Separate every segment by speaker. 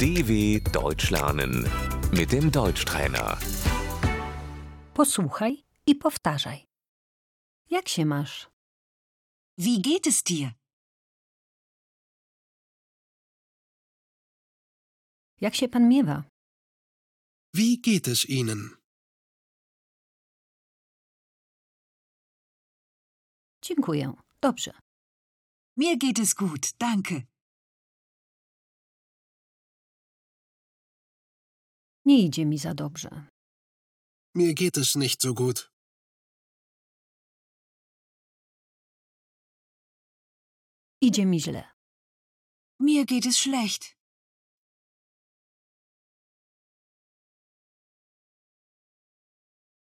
Speaker 1: DW Deutsch lernen mit dem Deutschtrainer.
Speaker 2: Posłuchaj i powtarzaj. Jak się masz?
Speaker 3: Wie geht es dir?
Speaker 2: Jak się pan miewa?
Speaker 4: Wie geht es Ihnen?
Speaker 2: Dziękuję. Dobrze.
Speaker 3: Mir geht es gut, danke.
Speaker 2: Nie idzie mi za dobrze.
Speaker 4: Mir geht es nicht so gut.
Speaker 2: Idzie mi źle.
Speaker 3: Mir geht es schlecht.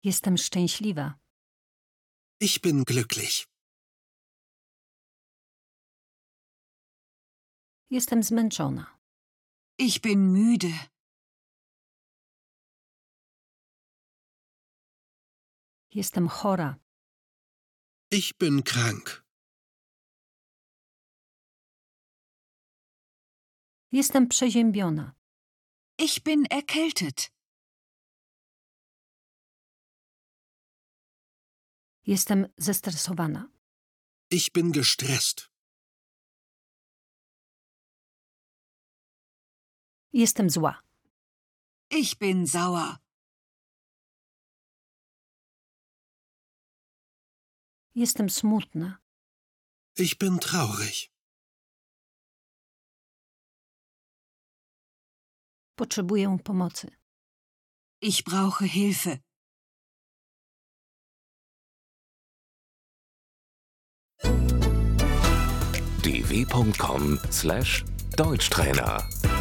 Speaker 2: Jestem szczęśliwa.
Speaker 4: Ich bin glücklich.
Speaker 2: Jestem zmęczona.
Speaker 3: Ich bin müde.
Speaker 2: Jestem chora.
Speaker 4: Ich bin krank.
Speaker 2: Jestem przeziębiona.
Speaker 3: Ich bin erkältet.
Speaker 2: Jestem zestresowana.
Speaker 4: Ich bin gestresst.
Speaker 2: Jestem zła.
Speaker 3: Ich bin sauer.
Speaker 2: Jestem smutna.
Speaker 4: Ich bin traurig.
Speaker 2: Potrzebuję pomocy.
Speaker 3: Ich brauche Hilfe.
Speaker 1: dw.com/deutschtrainer